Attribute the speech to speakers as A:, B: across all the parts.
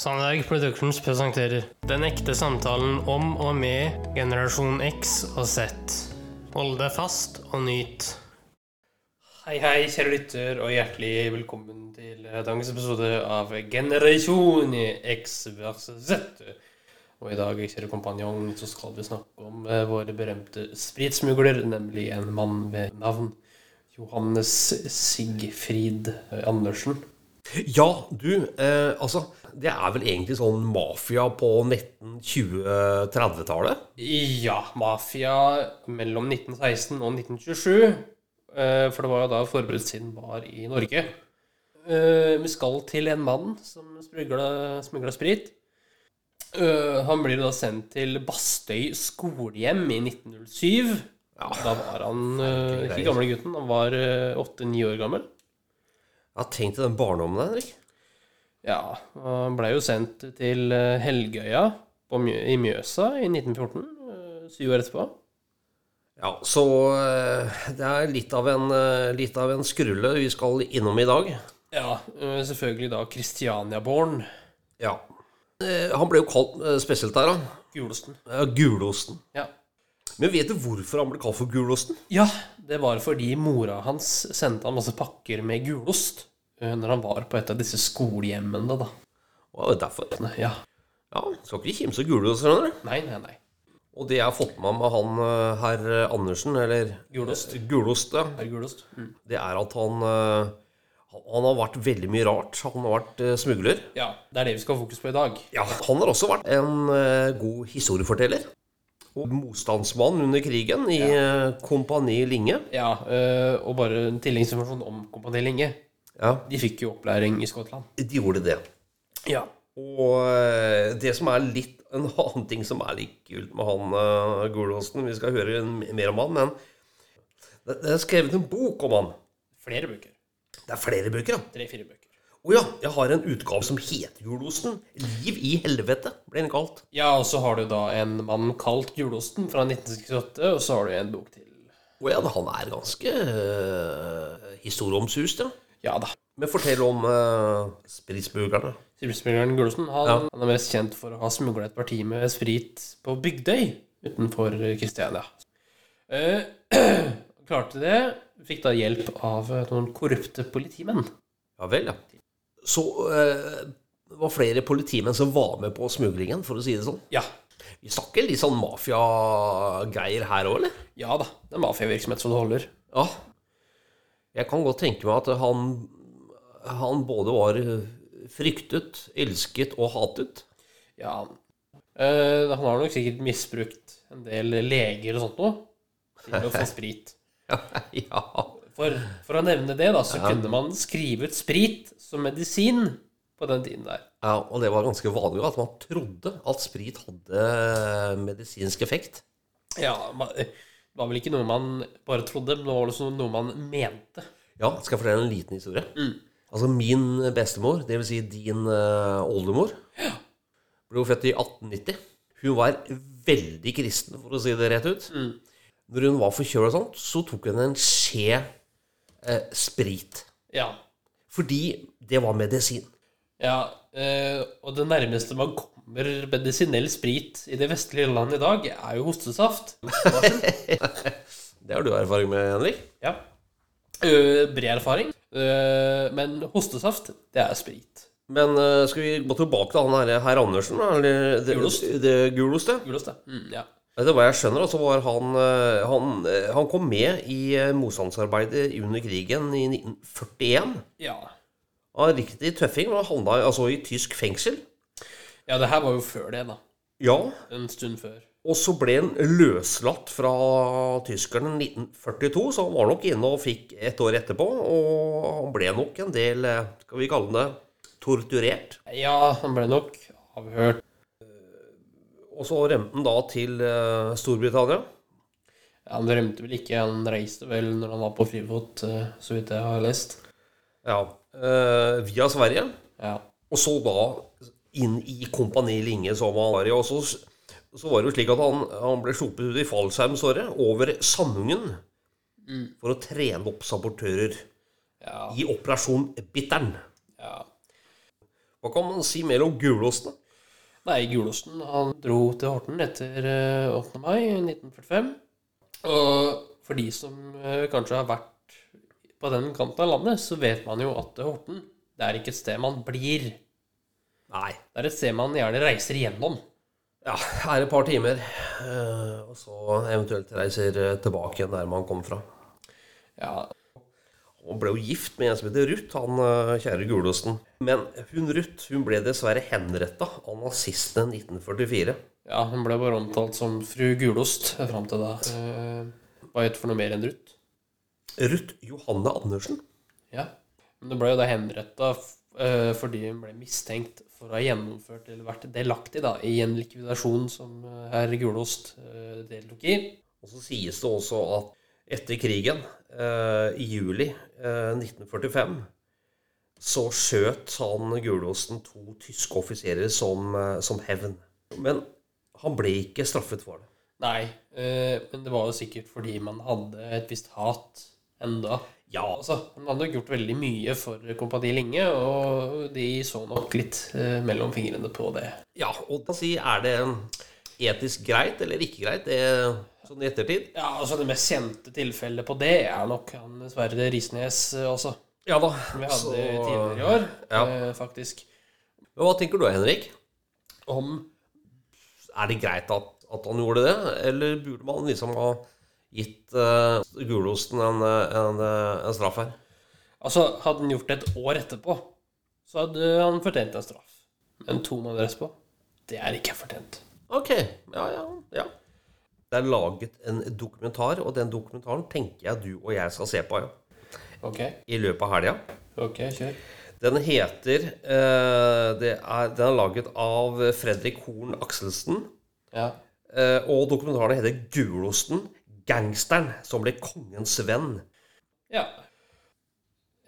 A: Sandberg Productions presenterer Den ekte samtalen om og med generasjon X og Z. Hold deg fast og nyt. Hei, hei, kjære lytter, og hjertelig velkommen til eh, dagens episode av Generasjon X versus Z. Og i dag, kjære kompanjong, så skal vi snakke om eh, våre berømte spritsmugler, nemlig en mann ved navn Johannes Sigfrid Andersen.
B: Ja, du, eh, altså Det er vel egentlig sånn mafia på 1920-30-tallet?
A: Ja, mafia mellom 1916 og 1927. eh, For det var jo da forbudstiden var i Norge. Eh, Vi skal til en mann som smugla sprit. Eh, Han blir da sendt til Bastøy skolehjem i 1907. Da var han eh, ikke gamle gutten, han var åtte-ni år gammel.
B: Ja, Tenk til den barndommen der, Henrik.
A: Ja, og han ble jo sendt til eh, Helgøya på Mjø i Mjøsa i 1914, eh, syv år etterpå.
B: Ja, Så eh, det er litt av, en, eh, litt av en skrulle vi skal innom i dag.
A: Ja, øh, selvfølgelig da Kristianiaborn
B: Ja. Eh, han ble jo kalt eh, spesielt der, han.
A: Gulosten.
B: Eh, Gulosten.
A: Ja.
B: Men vet du hvorfor han ble kalt for Gulosten?
A: ja, det var fordi mora hans sendte han masse pakker med gulost øh, når han var på et av disse skolehjemmene, da.
B: Og det er derfor.
A: Ja.
B: Ja, Skal ikke kimse av gulost, skjønner du.
A: Nei, nei, nei.
B: Og det jeg har fått med meg med han eh, herr Andersen, eller
A: Gulost.
B: Gulost, ja.
A: Herr Gulost. Mm.
B: det er at han eh, han- han har vært veldig mye rart. Han har vært eh, smugler.
A: Ja, det er det vi skal ha fokus på i dag.
B: Ja, han har også vært en eh, god historieforteller. Og motstandsmann under krigen i eh, Kompani Linge.
A: Ja, øh, og bare en tilleggsinformasjon om Kompani Linge.
B: Ja,
A: De fikk jo opplæring i Skottland.
B: de gjorde det.
A: Ja.
B: Og eh, det som er litt en annen ting som er litt kult med han uh, Gulosten Vi skal høre en- mer om han, men det, det er skrevet en bok om han.
A: Flere bøker.
B: Det er flere bøker, ja.
A: Tre-fire bøker.
B: Å ja, jeg har en utgave som heter Gulosten. Liv i helvete, ble den kalt.
A: Ja, og så har du da en mann kalt Gulosten fra 1968, og så har du en bok til.
B: Å ja, han er ganske uh, historieomsust, ja.
A: Ja da.
B: Men fortell om uh, spritsbugerne.
A: Spilleren Gulosen han, han er mest kjent for å ha smugla et parti med sprit på Bygdøy utenfor Kristiania. Eh, klarte det. Fikk da hjelp av eh, noen korrupte politimenn.
B: Ja vel, ja. Så eh, det var flere politimenn som var med på smuglingen, for å si det sånn.
A: Ja.
B: Vi snakker litt sånn mafiagreier her òg, eller?
A: Ja da. Det er mafiavirksomhet som det holder.
B: Ja. Jeg kan godt tenke meg at han, han både var eh, fryktet, elsket og hatet.
A: Ja. Eh, han har nok sikkert misbrukt en del leger og sånt noe til å få sprit.
B: ja.
A: For, for å nevne det, da, så kunne man skrive ut sprit som medisin på den tiden der.
B: ja. Og det var ganske vanlig at man trodde at sprit hadde eh, medisinsk effekt.
A: Ja, ma- Det var vel ikke noe man bare trodde, men det var også noe man mente.
B: Ja, skal jeg fortelle en liten historie? Altså min bestemor, det vil si din eh, oldemor, ble jo født i 1890. Hun var veldig kristen, for å si det rett ut. Når hun var forkjøla og sånt, så tok hun en skje eh, sprit.
A: Ja.
B: Fordi det var medisin.
A: ja eh, og det nærmeste man kommer medisinell sprit i det vestlige land i dag, er jo hostesaft.
B: Det har du erfaring med, Henrik.
A: Ja. Eh, bred erfaring. Eh, men hostesaft, det er sprit.
B: Men eh, skal vi gå tilbake til han her, herr Andersen? da, Eller, det,
A: Gulost.
B: Det, gulost, ja.
A: Gulost, det. Mm, ja.
B: Etter hva jeg skjønner, da, så var han, eh, han eh, Han kom med i eh, motstandsarbeidet under krigen i 1941.
A: ja.
B: Han var riktig tøffing og havna i- altså, i tysk fengsel.
A: Ja, det her var jo før det, da.
B: Ja,
A: En stund før.
B: og så ble han løslatt fra tyskerne i 1942, så han var nok inne og fikk et år etterpå. Og han ble nok en del, eh, skal vi kalle det, torturert.
A: Ja, han ble nok avhørt.
B: Og så rømte han da til eh, Storbritannia.
A: Ja, han rømte vel ikke, han reiste vel når han var på frifot, eh, så vidt jeg har lest.
B: Ja, eh, via Sverige.
A: Ja.
B: Og så da inn i Kompani Linge som han var i. Og så, så var det jo slik at han, han ble sluppet ut i fallskjermsåret over Sandungen for å trene opp sabotører
A: Ja.
B: i Operasjon Bittern.
A: ja.
B: Hva kan man si mer om gulosten?
A: Nei, Gulosten han dro til Horten etter eh, 8. mai 1945. Og for de som eh, kanskje har vært på den kanten av landet, så vet man jo at Horten det er ikke et sted man blir.
B: Nei.
A: Det er et sted man gjerne reiser igjennom.
B: Ja, her et par timer. eh, Og så eventuelt reiser eh, tilbake igjen der man kom fra.
A: Ja,
B: Han ble jo gift med en som heter Ruth, han eh, kjære gulosten. Men hun Ruth hun ble dessverre henretta av nazistene i 1944.
A: ja hun ble bare omtalt som fru Gulost fram til da. Eh, Hva het for noe mer enn Ruth?
B: Ruth Johanne Andersen.
A: Ja. Men hun ble jo da henretta fordi hun ble mistenkt for å ha gjennomført eller vært delaktig da, i en likvidasjon som eh, herr Gulost eh, deltok i.
B: Og så sies det også at etter krigen, eh, i juli eh, 1945, så skjøt han Gulosten to tyske offiserer som, eh, som hevn. Men han ble ikke straffet for det.
A: Nei, eh, men det var jo sikkert fordi man hadde et visst hat enda.
B: Ja,
A: Altså, Man hadde gjort veldig mye for Kompani Linge, og de så nok litt eh, mellom fingrene på det.
B: ja og da si, er det etisk greit eller ikke greit, det, sånn i ettertid?
A: Ja, altså Det mest kjente tilfellet på det er nok han Sverre Risnes eh, også.
B: Ja da.
A: Som vi hadde
B: Så,
A: tidligere i år,
B: ja.
A: eh, faktisk.
B: Men hva tenker du, Henrik?
A: Om
B: Er det greit at, at han gjorde det, eller burde man liksom ha gitt eh, Gulosten en, en, eh, en straff her?
A: Altså, hadde han gjort det et år etterpå, så hadde han fortjent en straff. Men to måneder etterpå, det er ikke fortjent.
B: Ok, ja, ja, ja. Det er laget en dokumentar, og den dokumentaren tenker jeg du og jeg skal se på ja.
A: Ok,
B: i løpet av helga.
A: ok, kjør.
B: Den heter eh, det er, Den er laget av Fredrik Horn Akselsen.
A: Ja.
B: eh, og dokumentaren heter 'Gulosten gangsteren som ble kongens venn'.
A: Ja.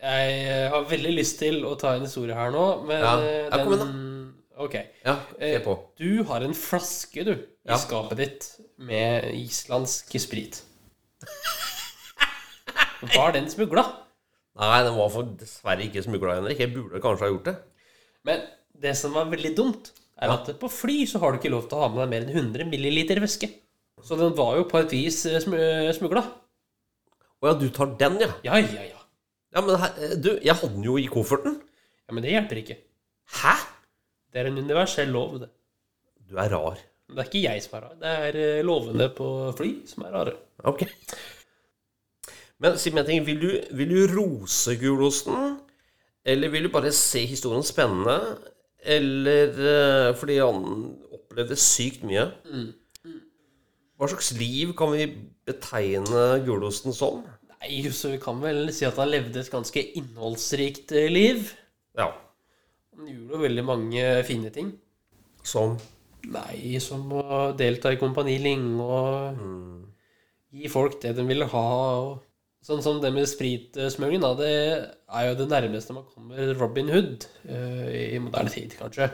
A: Jeg eh, har veldig lyst til å ta en historie her nå, men
B: Ja.
A: eh,
B: Ja, kom igjen
A: den Ok.
B: Ja, se
A: Eh,
B: på.
A: Du har en flaske, du, i
B: Ja.
A: skapet ditt med islandsk sprit. Var den smugla?
B: Nei, den var for dessverre ikke smugla, Henrik. Jeg burde kanskje ha gjort det.
A: Men det som var veldig dumt, er
B: Ja.
A: at på fly så har du ikke lov til å ha med deg mer enn 100 milliliter væske. Så den var jo på et vis eh, smu- smugla.
B: Å ja, du tar den, ja.
A: Ja, ja, ja.
B: Ja, men her, eh, du, jeg hadde den jo i kofferten.
A: Ja, Men det hjelper ikke.
B: Hæ?
A: Det er en universell lov, det.
B: Du er rar.
A: Men Det er ikke jeg som er rar. Det er eh, lovene på fly som er rare.
B: Ok. Men si meg en ting. Vil du, vil du rose gulosten? Eller vil du bare se historien spennende? Eller eh, fordi han opplevde sykt mye. Hva slags liv kan vi betegne gulosten som?
A: Nei, så vi kan vel si at han levde et ganske innholdsrikt eh, liv.
B: Ja,
A: Han gjorde jo veldig mange fine ting.
B: som
A: Nei, som å delta i Kompani Linge og
B: Mm.
A: gi folk det de ville ha. Og sånn som det med spritsmugling, da. Det er jo det nærmeste man kommer Robin Hood eh, i moderne tid, kanskje.